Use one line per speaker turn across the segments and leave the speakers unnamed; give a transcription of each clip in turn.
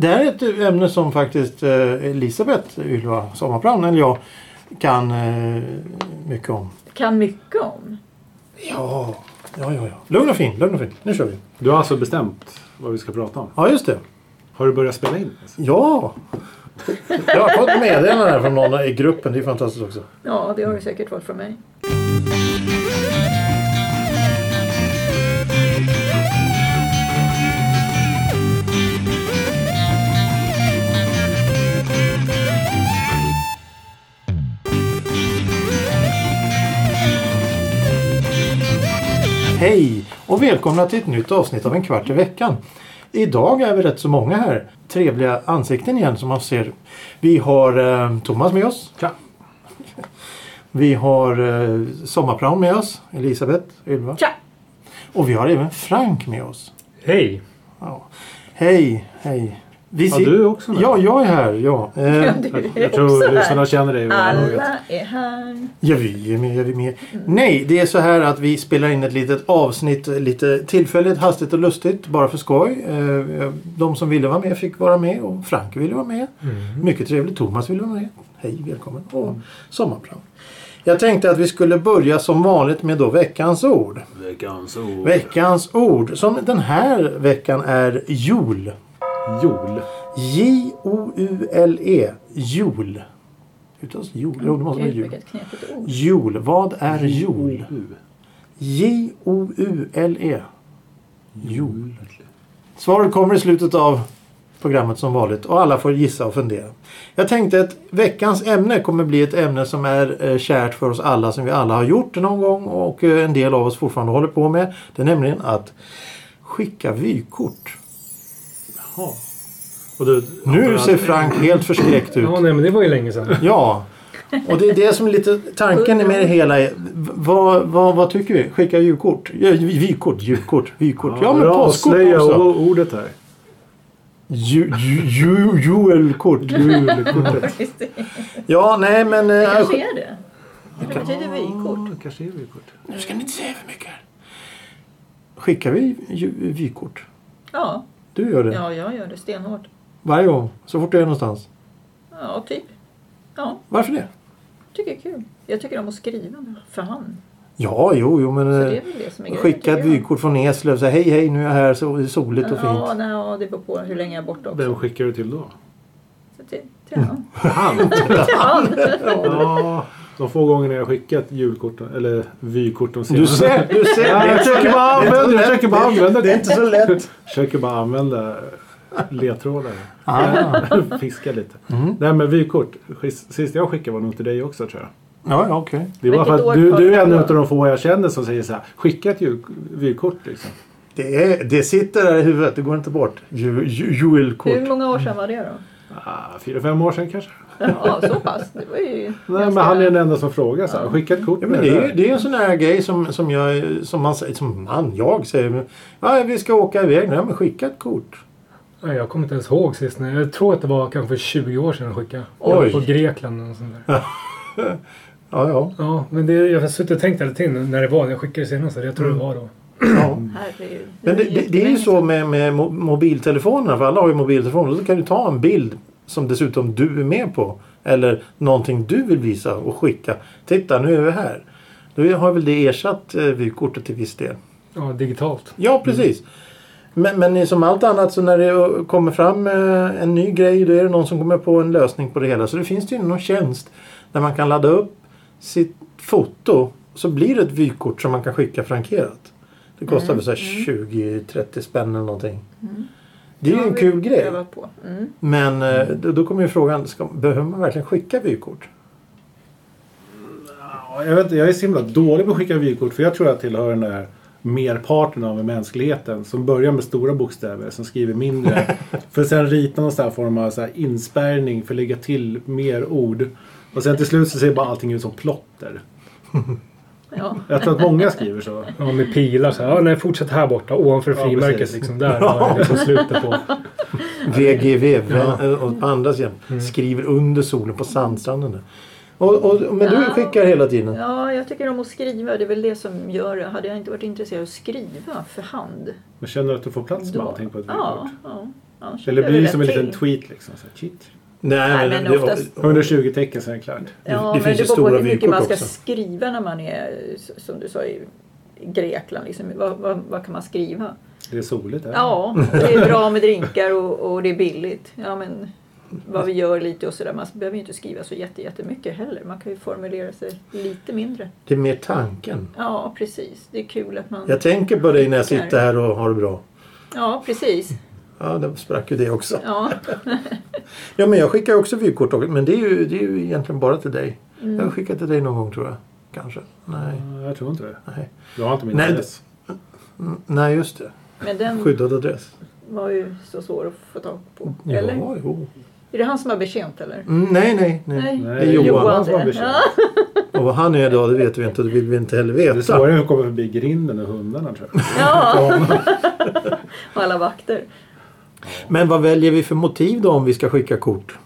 Det här är ett ämne som faktiskt eh, Elisabeth Ylva Sommarplan eller jag kan eh, mycket om.
Kan mycket om.
Ja, ja, ja. ja. Lugn och fin, lugn och fin. Nu kör vi.
Du har alltså bestämt vad vi ska prata om.
Ja, just det.
Har du börjat spela in?
Ja! Jag har fått meddelande här från någon i gruppen. Det är fantastiskt också.
Ja, det har
Mm.
du säkert fått från mig.
Hej och välkomna till ett nytt avsnitt av En kvart i veckan. Idag är vi rätt så många här. Trevliga ansikten igen som man ser. Vi har eh, Thomas med oss.
Tja.
Vi har eh, Sommarprån med oss. Elisabeth, Ylva.
Tja!
Och vi har även Frank med oss.
Hej!
Ja. Hej, hej. Vi
Ja,
ser-
du är också med.
Ja, jag är här. Ja. Eh,
Ja, du
Jag,
är
jag tror
också
lyssnarna
här.
känner dig. vid det här laget.
Alla är här.
Ja, vi är med, är vi med. Nej, det är så här att vi spelar in ett litet avsnitt lite tillfälligt, hastigt och lustigt, bara för skoj. Eh, De som ville vara med fick vara med och Frank ville vara med.
Mm.
Mycket trevligt. Thomas ville vara med. Hej, välkommen. Och sommarplan. Jag tänkte att vi skulle börja som vanligt med då veckans ord.
Veckans ord.
Veckans ord, som den här veckan är jul.
Jol.
J-O-U-L-E. E. Jul. Utas jul. Jo, det måste vara
Gud,
jul.
vilket knepigt ord.
Jul. Vad är jul?
U.
J-O-U-L-E. Jol. E. Svaret kommer i slutet av programmet som vanligt och alla får gissa och fundera. Jag tänkte att veckans ämne kommer bli ett ämne som är eh, kärt för oss alla som vi alla har gjort någon gång och eh, en del av oss fortfarande håller på med. Det är nämligen att skicka vykort.
Jaha. Och du,
Nu ser Frank helt förskräckt ut.
Ja, nej, men det var ju länge sedan.
Ja. Och det är det som är lite tanken med det hela. Är, v- vad, vad, vad tycker vi? Skicka julkort? Ja, vy- Vykort, julkort, vykort. Ja, men
bra,
påskkort
avslöja
också.
o- ordet här.
Ju- ju- ju- Julkort.
Julkortet.
Faktiskt. Det
Ja, nej men... eh,
kanske är det. Det betyder vykort.
Ja, kanske är vykort.
Nu ska ni inte säga för mycket. här. Skickar vi ju- vykort?
Ja,
Du gör det?
ja, jag gör det stenhårt.
Varje gång? Så fort du är någonstans?
Ja, typ. Ja,
Varför det?
tycker det är kul. Jag tycker om att skriva med för hand.
Ja, jo, jo men...
Så
eh,
det är väl det som är grejen.
Skicka ett
tycker jag.
vykort från Eslöv. Så här, hej, hej, nu är jag här. Så det är soligt och
Ja,
fint.
nej, ja, det beror på hur länge jag är borta
Vem
också.
skickar du till då?
Så till, till hand.
Han?
Till hand.
Ja, de få gångerna jag skickat julkort eller vykort de
Du ser, du ser.
Ja, jag försöker bara använda, jag försöker bara använda.
Det är inte så lätt.
Försöker bara använda ledtrådar.
Ah. Mm.
Fiska lite. Nej men vykort. Skis- Sist jag skickade var nog till dig också tror jag.
Ja, ja okej.
Det är bara
Vilket
för
år
att du,
kom
du
det
är en
då?
av de få jag känner som säger så här. Skicka ett jul- vykort liksom.
Det, är- det sitter där i huvudet, det går inte bort. Ju- ju- Julkort.
Hur många år sedan var det då?
Ah, fyra, fem år sedan kanske.
Ja, så pass. Det var ju
Nej men han är den enda som frågar så här. Skicka ett kort
Ja, men det, är, ju- det är en sån här grej som, som, jag, som, man, säger- som man, jag säger. men, Ja, vi ska åka iväg. Nej, men skicka ett kort.
Nej, Jag kommer inte ens ihåg sist. när- Jag tror att det var kanske för 20 år sedan jag skickade. Jag
Oj.
var på Grekland och sånt där.
Ja, ja.
Ja, men det, jag har suttit och tänkt hela tiden när det var. när Jag skickade senast. Jag tror
Mm.
det var då.
ja.
Herregud.
Men det, det, det är ju så med, med mo- mobiltelefonerna. För alla har ju mobiltelefoner. Så kan du ta en bild som dessutom du är med på. Eller någonting du vill visa och skicka. Titta, nu är vi här. Då har väl det ersatt eh, vykortet till viss del.
Ja, digitalt.
Mm.
Ja, precis. Men, men som allt annat så när det kommer fram eh, en ny grej då är det någon som kommer på en lösning på det hela. Så det finns ju någon tjänst där man kan ladda upp sitt foto så blir det ett vykort som man kan skicka frankerat. Det kostar väl
Mm.
såhär 20-30 spänn eller någonting. Det är ju en kul grej.
Pröva på. Mm.
Men eh, då, då kommer ju frågan, ska, behöver man verkligen skicka vykort?
Ja, Jag, vet, inte, jag är så himla dålig på att skicka vykort för jag tror jag tillhör den där merparten av mänskligheten som börjar med stora bokstäver, som skriver mindre. för sen rita någon sån här form av så här inspärrning för att lägga till mer ord. Och sen till slut så ser bara allting ut som plotter.
Ja.
Jag tror att många skriver så.
Ja, med pilar så här. Ja, nej, fortsätt här borta. Ovanför
Ja,
frimärket
precis.
liksom. Där var det liksom slutet på.
VGV, vän- och på andra sidan,
Mm.
skriver under solen på sandstranden. där. Och, och, men du
Ja.
skickar hela tiden?
ja, jag tycker om att skriva. Det är väl det som gör det. Hade jag inte varit intresserad av att skriva för hand.
Men känner du att du får plats med allting på ett vykort?
ja, ja. Annars
Eller det blir ju
rätt
som en liten
till.
tweet liksom. Så här, shit.
Nej, men
det-
oftast-
120 tecken sen är det klart.
det
Ja, men
finns ju
det beror
stora
på hur mycket
vykort
man ska
också.
skriva när man är, s- som du sa, i Grekland. Liksom. Vad, vad, vad kan man skriva?
Det är soligt där.
Ja, det är bra med drinkar och, och det är billigt. Ja, men vad vi gör lite och sådär. Man behöver ju inte skriva så jätte- jättemycket heller. Man kan ju formulera sig lite mindre.
det är mer tanken.
Ja, precis. Det är kul att man...
Jag tänker på dig när jag sitter här och har det bra.
Ja, precis.
Ja, det sprack ju det också.
Ja,
Ja, men jag skickar också vykort. och- Men det är, ju, det är ju egentligen bara till dig.
Mm.
Jag har skickat till dig någon gång tror jag. Kanske. Nej.
Ja, Jag tror inte det.
Nej,
Jag har inte min
Nej,
adress.
Mm, Nej just det.
men den
Skyddad adress.
var ju så svår att få tag på. Eller?
Ja, jo.
Är det han som har betjänt eller?
Mm, nej, nej, nej.
Nej,
det är Johan
som har bekymmer.
Ja.
Och vad han är idag det vet vi inte. Det vill vi inte heller
Det
veta.
svåra är att komma förbi grinden och hundarna tror jag.
ja, och alla vakter.
Men vad väljer vi för motiv då om vi ska skicka kort?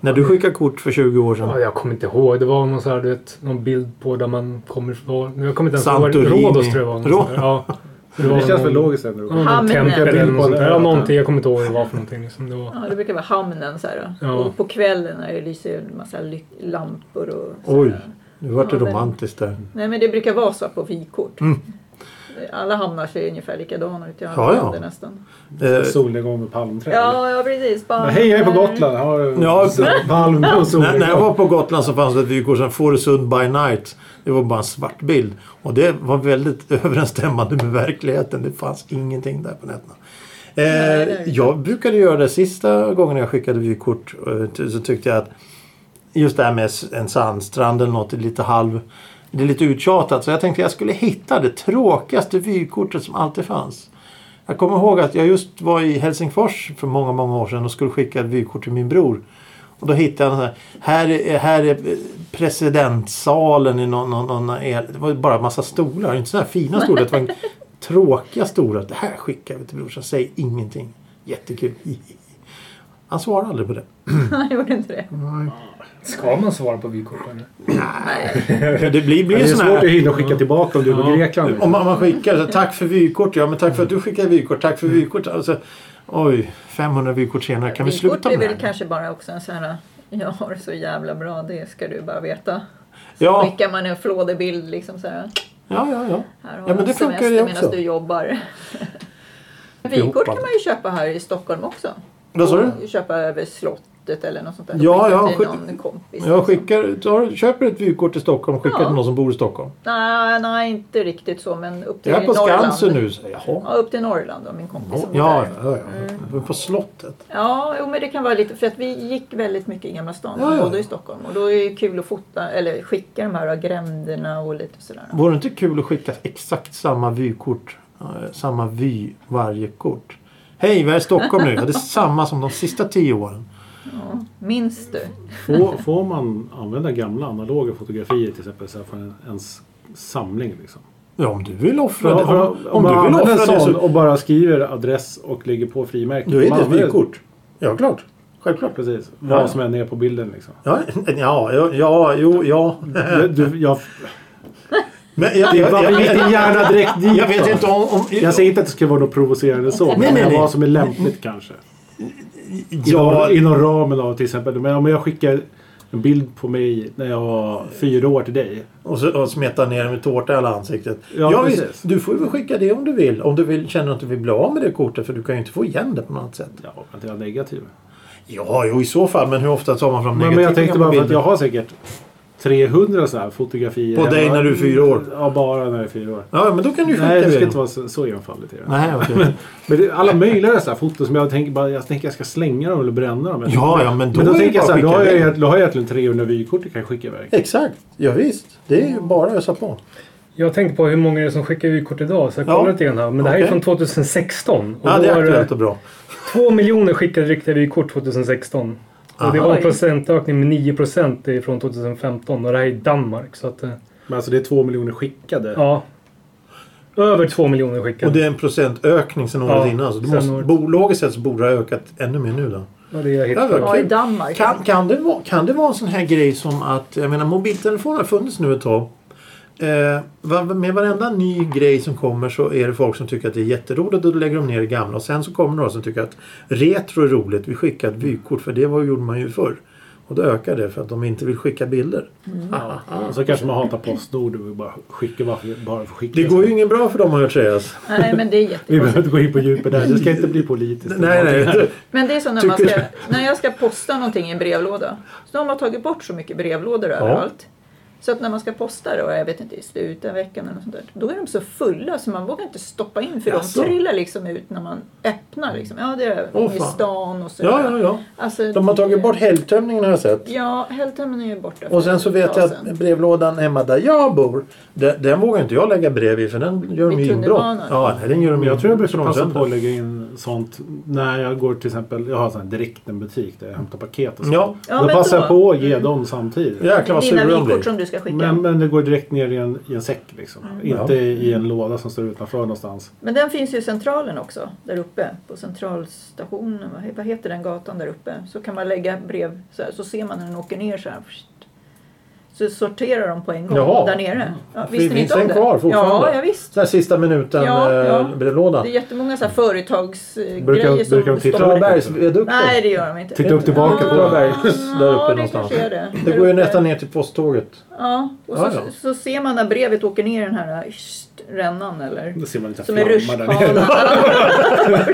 När du skickade kort för 20 år
Ja,
sedan.
jag kommer inte ihåg. Det var någon, så här, du vet, någon bild på där man kommer ifrån. Jag kommer inte ens ihåg. var-
Santorini.
Rhodos tror jag var. någon
Rå-
sån där. Ja.
Det,
var
känns väl
någon-
logiskt ändå.
Ja, någon
Hamnen.
tempel eller något sånt där. Ja,
Ja.
någonting. Jag kommer inte ihåg vad det var för någonting. Liksom. Det var...
Ja, det brukar vara hamnen så här.
Ja.
Och på kvällen när det lyser en massa ly- lampor och så
Oj,
här.
nu vart det
Ja, men-
romantiskt där.
Nej men det brukar vara så på vykort. Alla hamnar ser ungefär likadana ut i alla
Ja, ja.
länder nästan.
Eh,
Solnedgång med palmträd.
Ja, ja precis. Bara,
Men Hej, jag är på Gotland. Har du
Ja,
palm och
när,
solnedgång?
när jag var på Gotland så fanns det ett vykort som Fårösund by night. Det var bara en svart bild. Och det var väldigt överensstämmande med verkligheten. Det fanns ingenting där på nätterna.
Nej, det
Eh,
är det.
jag brukade göra det sista gången jag skickade vykort. eh, ty- Så tyckte jag att just det här med s- en sandstrand eller något, det är lite halv... Det är lite uttjatat. Så jag tänkte jag skulle hitta det tråkigaste vykortet som alltid fanns. Jag kommer ihåg att jag just var i Helsingfors för många, många år sedan och skulle skicka ett vykort till min bror. Och då hittade jag en sån här, här är, här är presidentsalen i någon, någon, någon el. Det var ju bara en massa stolar, inte sådana här fina stolar. Det var en tråkiga stolar. Det här skickar vi till brorsan, säg ingenting. Jättekul. Han svarade aldrig på det.
Han gjorde inte det.
Ska man svara på vykorten?
Det blir,
det
blir
är
sån
svårt att
här...
hinna skicka tillbaka om du är på
Ja.
Grekland. liksom.
Om man man skickar så här, tack för vykort. Ja men tack för att du skickar vykort. Tack för vykort. Alltså, oj, 500 vykort senare. Kan vi sluta
är
med
väl
det? här?
kanske bara också en sån här jag har det så jävla bra, det ska du bara veta.
Ja,
Skickar man en flåderbild liksom så här.
ja, ja. ja.
Här
Ja,
har
men
du
det funkar
semester
ju också.
medan du jobbar.
Ihop
Vykort
allt.
kan man ju köpa här i Stockholm också.
Vad sa du?
Och Köpa över slottet eller något sånt där.
Ja,
Skicka
ja,
till
skick-
någon kompis. liksom.
Jag skickar, tar, köper ett vykort till Stockholm och skickar
Ja.
till någon som bor i Stockholm.
Nej, nej, inte riktigt så men upp till
Jag är på
Norrland.
Skansen nu. Så, jaha.
Ja, upp till Norrland då, min kompis som bor
Ja,
där.
ja, ja. På slottet.
Ja, jo, men det kan vara lite för att vi gick väldigt mycket i Gamla stan,
Ja, ja.
både i Stockholm. Och då är det kul att fota eller skicka de här gränderna och lite sådär.
Vore det inte kul att skicka exakt samma vykort? eh, Samma vy varje kort. Hej, vi är i Stockholm nu. Ja, det är samma som de sista tio åren.
Minns du?
Får, får man använda gamla analoga fotografier till exempel så här, för en, ens samling? Liksom?
Ja, om du vill offra
Ja,
det.
för
Om, om
man
du vill
använder en
offra det
sån
så...
och bara skriver adress och lägger på frimärken.
Då är
Man
det ett
använder-
vykort. Ja, klart. Självklart.
Precis,
ja.
vad som än är på bilden liksom.
Ja, ja, ja, ja jo, ja.
Du, du, jag,
Men jag, jag,
varför
jag,
gick din
jag,
hjärna direkt dit?
jag vet
då?
inte om... om
Jag säger inte att det skulle vara något provocerande så, men
Nej, nej, nej.
vad som är lämpligt kanske.
ja,
Inom ramen av till exempel, men om jag skickar en bild på mig när jag var fyra år till dig.
Och, så, och smeta ner dem i tårta i hela ansiktet.
Ja,
Ja,
precis.
visst, du får ju väl skicka det om du vill. Om du vill, känner att du vill bli av med det kortet för du kan ju inte få igen det på något annat sätt.
Ja, att jag är negativ.
Ja, jo i så fall. Men hur ofta tar man fram
Men, men
negativa
jag tänkte bara för att
bilder?
jag har säkert 300 sådana här fotografier.
På
hemma.
dig när du är fyra år?
Ja, bara när jag är fyra år.
Ja, men då kan du ju skicka
Nej, det ska
det.
inte vara så, så enfaldigt. i det.
Nej, okej.
Men det, alla möjliga sådana här foton som jag tänker bara, jag tänker jag ska slänga dem eller bränna dem.
Ja, ja, men då,
men
är det
då tänker
bara
jag så här, då
skicka
har jag,
iväg.
egent- då har jag egentligen 300 vykort jag kan skicka iväg.
Exakt. Ja, visst. Det är ju bara att ösa på.
Jag tänkte på hur många är det som skickar vykort idag. Så jag kollade
Ja.
lite grann här. Men det här är
Okej.
från 2016. Och
Ja,
då
det är
var
aktuellt och bra.
Två miljoner skickade riktiga vykort 2016. Och det
Aha.
var
Oj.
en procentökning med 9 procent från 2015 och det här är i Danmark. Så att, eh,
Men alltså det är två miljoner skickade.
ja. Över två miljoner skickade.
Och det är en procentökning sen året
Ja,
innan. Så det
sen
måste,
året.
Bolagiskt sett så borde det ha ökat ännu mer nu då.
Ja, det är helt
Ja, det var
Ja, i
kul.
Danmark.
Kan, kan, det vara, kan det vara en sån här grej som att, jag menar mobiltelefoner har funnits nu ett tag. Eh, va- med varenda ny grej som kommer så är det folk som tycker att det är jätteroligt och då lägger de ner det gamla. Och sen så kommer några som tycker att retro är roligt, vi skickar ett vykort för det var, gjorde man ju förr. Och då ökar det för att de inte vill skicka bilder.
Ah,
Ja. Och så kanske man hatar Postnord och vill bara skicka bara för, bara för skicka.
Det går ju inget bra för dem har jag hört sägas.
Nej, men det är
Vi
jättekonstigt.
behöver inte gå in på djupet där. Det ska inte bli politiskt.
Nej, nej.
Men det är som när, man ska,
Tycker
när jag ska posta någonting i en brevlåda. Så de har tagit bort så mycket brevlådor överallt. Så att när man ska posta det, och jag vet inte, i slutet av veckan eller något sånt där. Då är de så fulla så man vågar inte stoppa in för
Jaså?
de trillar liksom ut när man öppnar. Liksom. Ja, det är
Åh,
i
fan.
stan och så.
Ja, ja, ja.
Alltså,
De har tagit
det-
bort helgtömningen har jag sett.
Ja, hälften är ju borta. för
Och sen så
ett
vet
tag
jag
sedan.
att brevlådan hemma där jag bor, den, den vågar inte jag lägga brev i för den gör de
Vid
ju inbrott.
tunnelbanan.
Ja, nej, den gör de
Men jag tror jag brukar
slår
passa
sönder.
Mm. på att lägga in sånt när jag går till exempel, jag har en sån här direkt en butik där jag hämtar paket och sånt.
Ja,
Ja,
då
men
passar jag
då.
på att ge dem samtidigt.
jäklar vad
Dina
sura de blir.
vykort som du ska skicka. Mm.
Men,
Men,
men det går direkt ner i en, i en säck liksom. Inte
Ja.
i en låda som står utanför någonstans.
den finns ju i centralen också, där uppe. På centralstationen, vad he- vad heter den gatan där uppe? Så kan man lägga brev, så, här, så ser man när den åker ner så här. Så sorterar de på en gång
Jaha.
där nere. Ja,
Fin-
visste ni
finns
inte om
den
det?
kvar fortfarande?
Ja, ja, visst.
Den här sista minuten
Ja, ja.
eh, brevlådan.
Det är jättemånga så här företagsgrejer
Brukar-
som
brukar de titta
står-
på det?
Trabergsviadukten.
Nej, det gör de inte. Ah,
Titta upp tillbaka på
Tillbaka
det.
berg där uppe
ja, det
någonstans.
kanske är det.
Det
Där
går ju
uppe.
nästan ner till posttåget.
Ja, och så,
Ja, ja.
så ser man när brevet åker ner i den här sht, rännan eller
Då ser man lite
som en
flammar där nere.
rutschkana.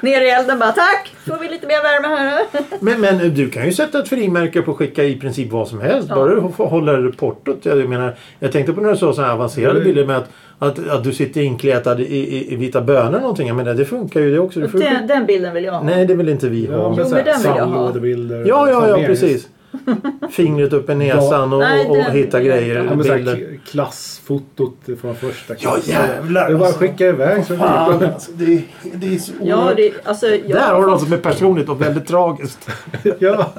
ner i elden bara tack, får vi lite mer värme här. eh?"
Men, men du kan ju sätta ett frimärke på skicka i princip vad som helst.
Ja.
Bara du hå- håller portot. Jag, menar, jag tänkte på när du sa så här avancerade
Mm.
bilder med att, att, att du sitter inkletad i, i, i vita bönor eller någonting. Jag menar, det funkar ju det också. Du får,
Den, den bilden vill jag ha.
Nej, det vill inte vi
Ja,
ha.
men
Jo,
så
men
här,
den vill jag ha.
sandlådebilder.
Ja, ja, ja,
Samlerings-
precis. Fingret upp i näsan och,
Nej,
och
den-
hitta grejer.
Ja, men så
bilder.
här, klassfotot från första
Ja,
klassen.
jävlar,
Det är bara att
alltså.
skicka iväg. Så
Fan, alltså, det, är- det är så
Ja,
oerhört-
det, alltså, jag,
Där har du något som är personligt och väldigt tragiskt.
ja.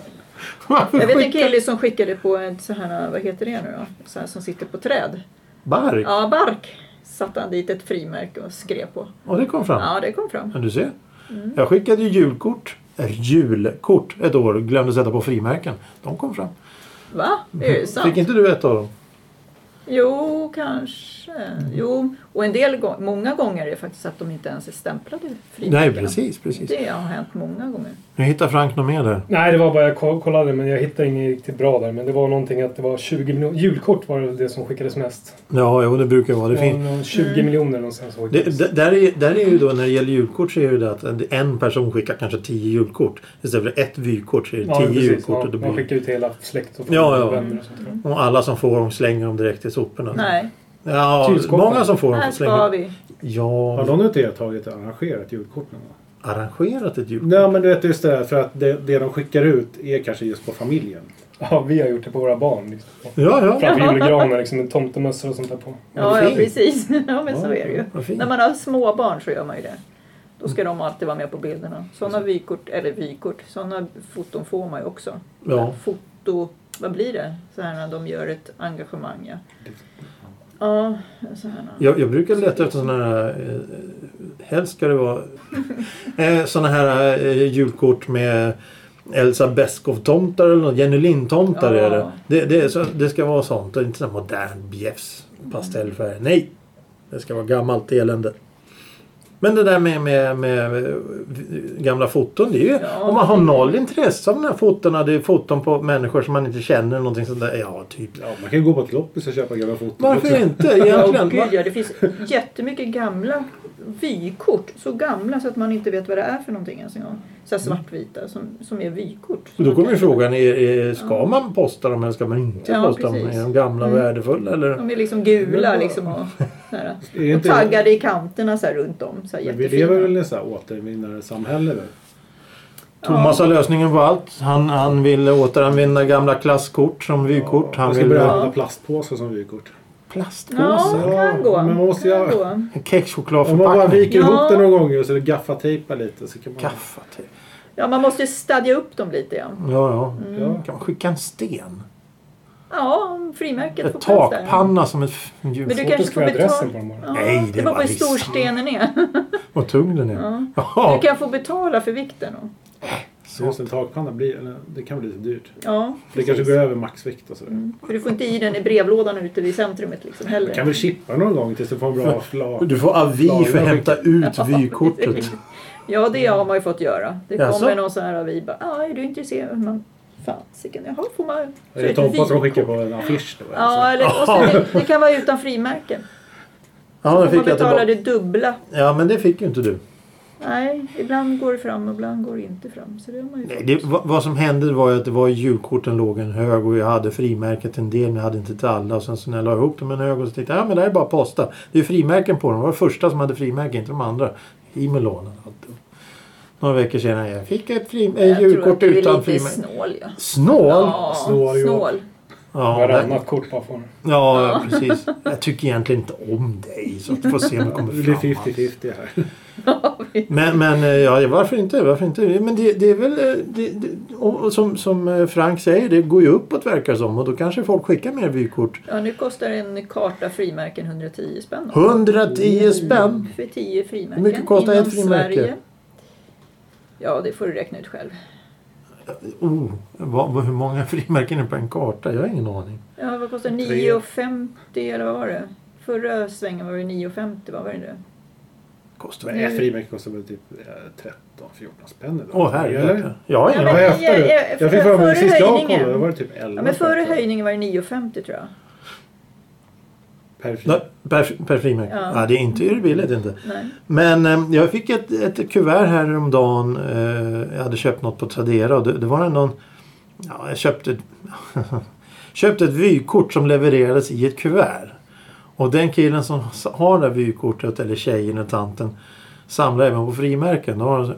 jag vet en kille som skickade på ett så här, vad heter det nu då? Så här, som sitter på träd.
Bark.
Ja, bark. Satte han dit ett frimärke och skrev på.
Och det kom fram.
Ja, det kom fram.
Ja, du ser. Jag skickade ju julkort. Eller julkort ett år. Glömde sätta på frimärken. De kom fram.
Va? Är det sant?
Fick inte du ett av dem?
Jo, kanske. Jo, och en del gång, många gånger är det faktiskt att de inte ens är stämplade.
Nej,
frimärkena.
precis. precis.
Det har hänt många gånger.
Nu hittar Frank något mer där.
Nej, det var bara jag ko- kollade men jag hittade inget riktigt bra där. Men det var någonting att det var 20 miljoner. Julkort var det som skickades mest.
Ja, jo, det brukar vara. Det
Det var
Mm.
fin-
någon 20 miljoner någonstans. som
det,
skickades.
d- där, är, där är ju då när det gäller julkort så är det ju det att en- en person skickar kanske tio julkort. Istället för ett vykort så är det
Ja,
tio
precis.
julkort. och,
Ja,
det
man
blir,
skickar ut hela släkt och
Ja, ja.
och vänner och sånt där.
och alla som får dem slänger dem direkt i soporna.
Nej,
Ja,
Kylskåpen.
många som får dem
här
får slänga.
ska vi.
Ja,
Har någon av er tagit och arrangerat julkort någon gång?
arrangerat ett julkort.
Nej men du vet just det där för att det, det de skickar ut är kanske just på familjen.
Ja, vi har gjort det på våra barn. Liksom.
Ja, ja.
Framför julgranen liksom, med tomtemössor och sånt där på.
Ja,
Vad
ja
fint.
precis. Ja, men så är det ju.
Vad fint.
När man har småbarn så gör man ju det. Då ska de alltid vara med på bilderna. Sådana vykort, eller vykort, sådana foton får man ju också.
Ja.
Foto, vad blir det? Så här när de gör ett engagemang, ja. Ja, så här. när-
Jag, jag brukar leta efter sådana här, eh, helst ska det vara eh, sådana här eh, julkort med Elsa Beskow-tomtar eller något, Jenny Lind-tomtar
Ja.
är det. Det, det, är så, det ska vara sånt och inte sånt modern bjäfs, pastellfärg. Nej! Det ska vara gammalt elände. Men det där med, med, med eh, gamla foton, det är ju,
Ja.
om man har noll intresse av de här fotona, det är foton på människor som man inte känner, någonting sånt där. Ja, typ.
Ja, man kan ju gå på ett loppis och köpa gamla foton också.
Varför inte
Ja,
egentligen?
gud, ja, det finns jättemycket gamla vykort. Så gamla så att man inte vet vad det är för någonting ens en gång. Så här svartvita som, som är vykort.
Och då kommer ju frågan, är, är, ska man posta dem eller ska man inte
Ja,
posta dem?
precis.
Är de gamla
Mm.
värdefulla eller?
De är liksom gula liksom och, så här,
Är
och
inte-
taggade i kanterna så här runt om. Så här,
Men vi lever väl i
jättefina.
ett återvinnarsamhälle nu?
Thomas har lösningen på allt. Han, han vill återanvända gamla klasskort som vykort. Han
Man ska
vill
börja
ha
använda plastpåsar som vykort.
Ja,
plastpåsar.
kan gå.
Men man måste
kan
ju-
gå.
Om man bara
Kexchokladförpackning.
viker
Ja.
ihop det några gånger så det gaffatejpar lite så kan man...
Kaffa typ.
Ja, man måste ju stadga upp dem lite ja.
Ja, ja.
Mm.
Ja.
Kan man skicka en sten?
Ja, frimärket får
Ett
plats där.
takpanna som ett
Men du
julfoto.
kanske
Fotot
får
för adressen på
betala.
dem bara.
Ja,
Nej, det
det var
var
på hur
listan.
stor stenen är.
Vad tung den är.
Ja.
Jaha,
Du kan få betala för vikten. och-
Så just en takpanna blir, eller, det kan bli lite dyrt.
Ja,
Det kanske går över maxvikt och sådär.
mm. För du får inte i den i brevlådan ute vid centrumet liksom
Man kan
heller.
väl chippa någon gång tills du får en bra flak.
Du får avi för att hämta ut vykortet.
Ja, det har man ju fått göra. Det
Jaså?
kommer någon sån här och vi bara, ja, är du intresserad? Man, Fasiken, jaha, får man... så
Är det
ett
Eh, Tompa som
vykort.
skickar på en affisch då?
Ja,
Alltså.
eller, och sen, det, det kan vara utan frimärken.
Ja, den
Om man
fick jag tillbaka.
betalar det dubbla.
Ja, men det fick ju inte du.
Nej, ibland går det fram och ibland går det inte fram. Så det har man ju
Nej,
fått.
Eh, det, vad vad som hände var ju att det var julkorten låg en hög och jag hade frimärket en del men jag hade inte till alla. Och sen så när jag la ihop dem en hög och så tänkte jag ja men det här är bara att posta. Det är ju frimärken på dem. Det var det första som hade frimärke, inte de andra. I med lånen. och allt. Några veckor senare jag fick jag ett frim- eh, julkort
jag tror
utan
att du är lite
frimärke.
snål. Ja.
Snål! Ja,
Ja,
snål, ja.
snål.
ja, nej.
Varannat kort bara får
ja, ja precis. Jag tycker egentligen inte om dig så att vi får se om det kommer
Det blir
fram.
50-50 här.
Men, men eh, ja, varför inte? Varför inte? Men det, det är väl eh, det, det, och och som, som eh, Frank säger, det går ju uppåt verkar det som och då kanske folk skickar mer vykort.
Ja, nu kostar en karta frimärken 110 spänn.
110 spänn!
För 10 frimärken.
Hur mycket kostar ett
inom
frimärke?
Sverige. Ja, det får du räkna ut själv.
Oh, vad, vad, hur många frimärken är på en karta? Jag har ingen aning.
Ja, vad kostar
Tre.
9,50 eller vad var det? Förra svängen var det 9,50, vad var det nu?
Kostar
Men
det?
ett frimärke kostar väl typ 13-14 spänn idag.
Åh herregud.
Eller?
Jag har
Ja,
ingen
men-
Jag
aning.
häftar
Ja,
det.
ja,
Jag fick
för-
för mig
före
sist jag
höjningen.
kollade då var det typ 11
Ja, men före
spänn, tror jag.
höjningen var det 9,50 tror jag.
Per fri.
Nej, Per, per frimärke?
Ja.
Ja. det är inte det är billigt inte.
Nej.
Men eh, jag fick ett, ett kuvert häromdagen. Eh, jag hade köpt något på Tradera och det, det var någon... Ja, jag köpte, ett- köpte ett vykort som levererades i ett kuvert. Och den killen som s- har det här vykortet, eller tjejen och tanten, samlar även på frimärken. De har så-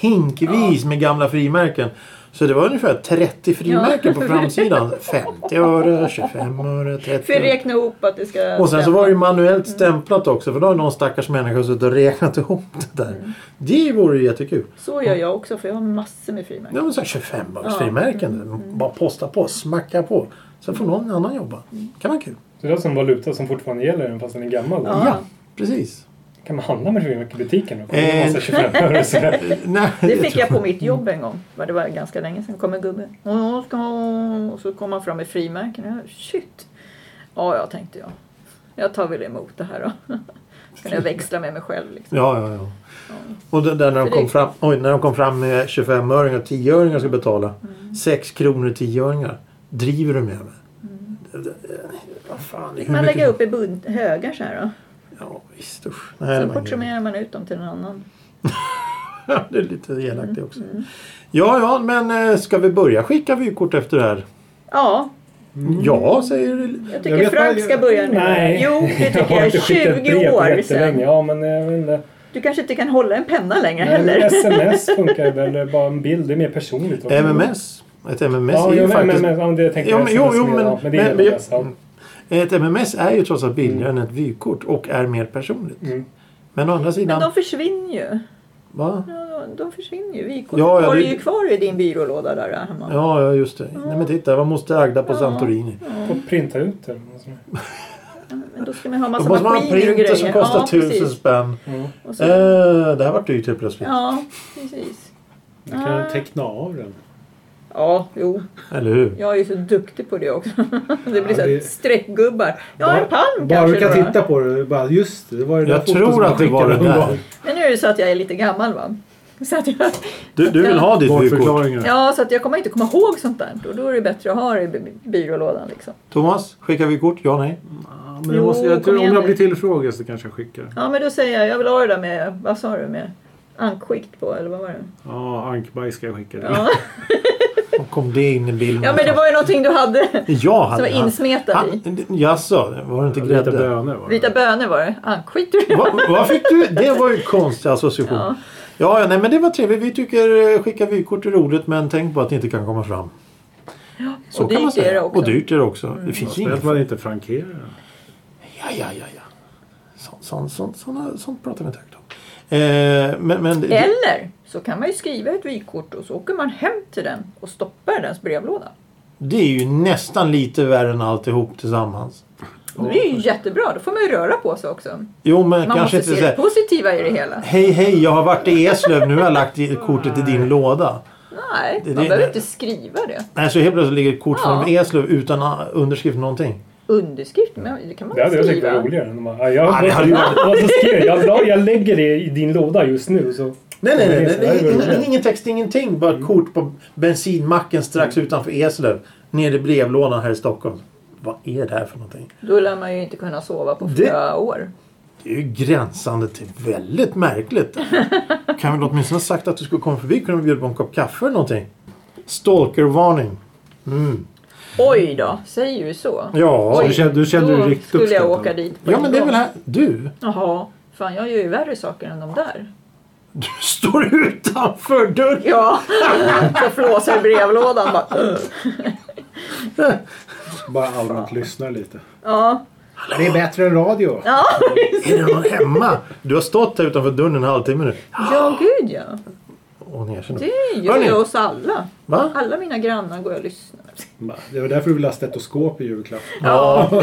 hinkvis med gamla frimärken. Så det var ungefär 30 frimärken på framsidan. 50 öre, 25 öre, 30 öre.
För räkna ihop att det ska
Och sen så
stämma.
var det ju manuellt stämplat också för då har någon stackars människa suttit och räknat ihop det där.
Mm.
Det vore ju jättekul.
Så gör jag också för jag har massor med frimärken.
Ja men så här 25
Ja.
års frimärken. Bara posta på, smacka på. Sen får någon annan jobba.
Mm.
Kan vara kul.
Så det är alltså en valuta som fortfarande gäller även fast den är gammal. då.
Ja.
Ja, precis.
Kan man handla med frimärken i butiken då?
Eh.
Kommer det kosta 25 öre och sådär?
Eh, Nej,
Det fick
tror
jag på mitt jobb en gång. Men Det var ganska länge sedan. kom en gubbe. "Ja, ska ha-" Och så kom han fram med frimärken. Jag, Shit! Ja, jag tänkte jag. Jag tar väl emot det här då. Kan jag växla med mig själv liksom.
Ja, ja, ja. Och det där när de,
För det-
kom fram, oj, när de kom fram med 25-öringar och 10-öringar ska betala.
Mm.
6 kronor 10-öringar. Driver du med mig?
Mm.
Det- det- det- Vad fan.
Fick
hur
man
mycket-
lägga upp i bunt, högar så här då.
Ja, visst. Usch. Nej, det
Så
var ingen-
portionerar man ut dem till någon annan.
det är lite elakt det också.
Mm.
Ja, ja, men eh, ska vi börja skicka vykort efter det här?
Ja,
Mm.
Ja, säger
jag
Jag
tycker
vet
Frank
vad-
ska börja nu.
Nej.
Jo, det
Jag
tycker
har
jag.
inte skickat
20
brev på
år
jättelänge.
sedan.
Ja, men eh, jag vet inte.
Du kanske inte kan hålla en penna längre
Nej, men
heller.
Sms funkar väl, eller bara en bild. Det är mer personligt. också.
MMS. Ett MMS
Ja,
Eh, är ju
jo, men,
faktiskt...
men, ja, det tänkte
Jo,
jag
men- jo, jo,
SMS med,
men-
ja, men det är
men- men-
MMS, ja.
Ett MMS är ju trots allt billigare än ett vykort och är mer personligt.
Mm.
Men å andra
Men
sidan...
de försvinner ju.
Va?
Ja, de försvinner ju. Vykortet
Ja, ja,
har du
det-
ju kvar i din byrålåda där hemma.
Ja, ja, just det. Nej, men titta, det var moster Agda på
Ja.
Santorini.
Och printa ut alltså. det. eller något sånt där.
Men då ska man ha
Då
massa
måste man ha en
maskiner och
printer
grejer.
som kostar
ja,
tusen
precis.
spänn.
Ja.
Och så,
Eh, det här vart dyrt helt plötsligt.
Ja, precis.
Du
Ah.
kan teckna av den.
Ja, jo.
Eller hur?
Jag är ju så duktig på det också. Det blir
Ja,
så här
det-
streckgubbar. Ja, en palm
Bara du
kanske
kan
då.
titta på det. Bara, just det, det var ju det
Jag
där fotot
tror
som jag
att det var
skickade
det
någon
där.
gång.
Men nu är det så att jag är lite gammal va. Så att jag,
Du, du vill ha ditt vykort.
Bortförklaringar.
ja, så att jag kommer inte komma ihåg sånt där. Och då är det bättre att ha det i by- byrålådan liksom.
Thomas, skickar vykort? Ja, nej?
Ja, men jag
Jo,
måste, jag
kom
tror, om
igen
jag
nu.
blir tillfrågad så kanske jag skickar.
Ja, men då säger jag, jag vill ha det där med, vad sa du, med ankskikt på eller vad var det?
Ja, ankbajs ska jag skicka. till.
Ja,
Och kom det in i bilden?
ja men det var ju någonting du hade.
Jag
Som
hade...
var insmetad i.
Han- Jaså, var det inte
Lite
grädde?
bönor var det.
Vita bönor var det. Ankskit du det?
Va, vad fick du? Det var ju en konstig association. Ja.
Ja.
Ja, nej men det var trevligt. Vi tycker eh, skicka vykort är roligt men tänk på att det inte kan komma fram. Så
och
kan man
dyrt är
säga.
det också. Mm.
Och dyrt är det också. Det finns ju
Speciellt
inget.
att man inte frankerar den.
Ja, ja, ja. ja. Så, så, så, såna, sånt pratar vi inte högt om. Eh, men, men det,
Eller så kan man ju skriva ett vykort och så åker man hem till den och stoppar i dens brevlåda.
det är ju nästan lite värre än alltihop tillsammans.
Det är ju jättebra, då får man ju röra på sig också.
Jo, men
Man
kanske
måste
inte
se
så
det
här.
positiva i det hela.
Hej, hej, jag har varit i Eslöv. Nu har jag lagt i- kortet i din låda.
Nej,
Det-
man
det-
behöver inte skriva det.
Nej, så helt plötsligt ligger ett kort
Ja.
från Eslöv utan ah, underskrift någonting.
Underskrift, men det kan man
Det
väl
hade jag tyckt
skriva?
var roligare. än att bara, Ja, jag,
Ja, det hade ju varit-
Vad så skrev jag? jag? la- Jag lägger det i din låda just nu. Så.
Nej, nej, nej. nej,
Det hade
nej,
varit
nej,
roligare.
ingen text, ingenting. Bara ett kort på bensinmacken strax utanför Eslöv. Nere i brevlådan här i Stockholm. Vad är det här för någonting?
Då lär man ju inte kunna sova på
Det-
flera år.
Det är ju gränsande till väldigt märkligt. kan vi åtminstone ha sagt att du skulle komma förbi? Kunde vi bjuda på en kopp kaffe eller någonting? Stalkervarning. Mm.
Oj då, säger ju så.
Ja.
Så du kände, du kände
då
dig riktigt
skulle jag
uppskattad.
åka dit på
Ja
en
men det är
gång.
väl här. Du!
Jaha, fan jag gör ju värre saker än de där.
Du står utanför dörren!
Ja, så flåsar i brevlådan bara.
Bara allmänt lyssnar lite.
Ja,
Det är bättre än radio.
Är det någon hemma? Du har stått här utanför dörren en halvtimme nu.
ja gud ja.
Åh, ni erkänner.
Det gör
Hörni.
jag oss alla.
Va?
Alla mina grannar går och lyssnar.
Det var därför du ville ha stetoskop i julklapp.
Ja,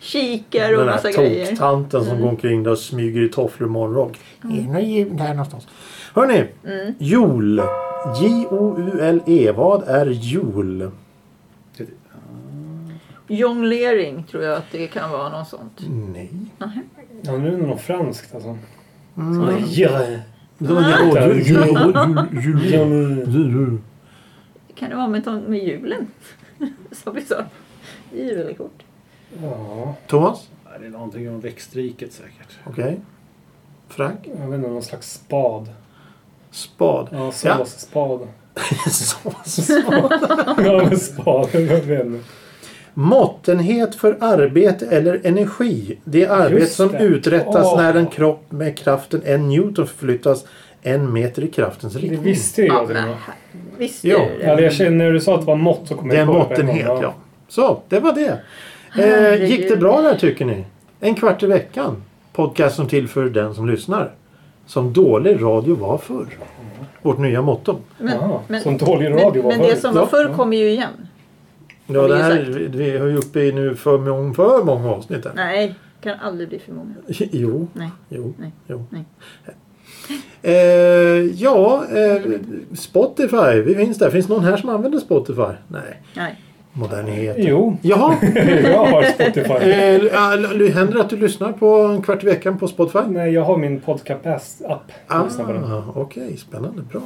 Kikar och
den
massa
här
grejer. Mm.
toktanten som går omkring där och smyger i tofflor och morgonrock. Är det någon jul här någonstans? Hörni,
Mm.
jul. J-O-U-L-E. E. Vad är jul?
Jonglering tror jag att det kan vara något sånt.
Nej.
Ja, nu är det något franskt alltså. Mm. Ja.
Det var
Ah.
jul. Jul.
Ja,
Jul.
men-
Jul. Jul.
Kan det vara med, med julen? Som vi sa. Julkort.
ja,
Thomas?
Det är någonting om växtriket säkert.
Okej. Frank?
jag vet inte, någon slags spad.
Spad.
Ja,
Ja.
såsspad.
Sås.
Ja, men spad. Jag vet inte.
Måttenhet för arbete eller energi. Det är arbete
Just
som
det.
uträttas
Åh.
när en kropp med kraften en newton förflyttas en meter i kraftens
Det
riktning.
visste ju
Ja,
jag till och
men
med.
visst
Ja.
är det
Ja,
det.
det jag känner när du sa att det var mått så kom
Det är
jag
en
på på en gång.
måttenhet, ja. Så, det var det. Eh,
Herregud.
gick det bra där tycker ni? En kvart i veckan. Podcast som till för den som lyssnar. Som dålig radio var förr. Vårt nya motto.
Men,
Ja,
men,
som dålig radio
men,
var
men det
förut.
som var
Ja.
förr kommer ju igen.
Ja,
Har vi
det här,
ju
vi, vi har ju uppe i nu för, mång- för många avsnitt. här.
Nej, kan aldrig bli för många.
Jo.
Nej.
Jo.
Nej.
jo.
Nej.
Eh, ja, eh, Spotify. Vi finns där. Finns det någon här som använder Spotify? Nej.
Nej.
Modernitet.
Jo,
Jaha.
jag har Spotify.
Eh, l- l- l- händer det att du lyssnar på en kvart i veckan på Spotify?
Nej, jag har min podcast-app.
Ah,
Jag lyssnar Mm. på den.
Okej, spännande. Bra.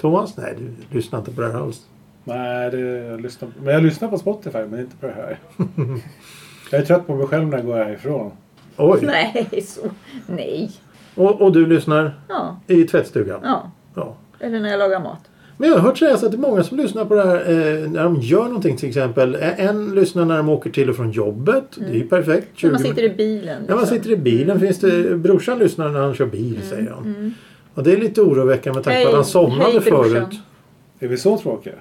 Thomas? Nej, du lyssnar inte på det här alls.
Nej, det, jag lyssnar, men jag lyssnar på Spotify men inte på det här. jag är trött på mig själv när jag går härifrån.
Oj.
Nej, så. Nej.
Och, och du lyssnar
Ja,
i tvättstugan?
ja.
Ja.
Eller när jag lagar mat.
Men jag har hört sägas att det är många som lyssnar på det här eh, när de gör någonting till exempel. Ä- En lyssnar när de åker till och från jobbet. Det är ju perfekt.
När
20
Mm. man sitter i bilen. liksom.
När man sitter i
Mm.
bilen finns det... Brorsan lyssnar när han kör bil säger han. Och det är lite oroväckande med tanke på
Hej.
att han somnade
Hej, brorsan.
förut.
Är vi så tråkiga?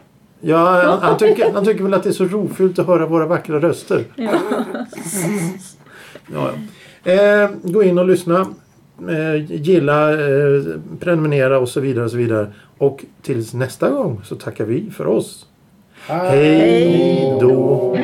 Ja, han, han, tycker, han tycker väl att det är så rofyllt att höra våra vackra röster. Ja, ja. Eh, gå in och lyssna. Eh, gilla, eh, prenumerera och så vidare och så vidare. Och tills nästa gång så tackar vi för oss. Hej då!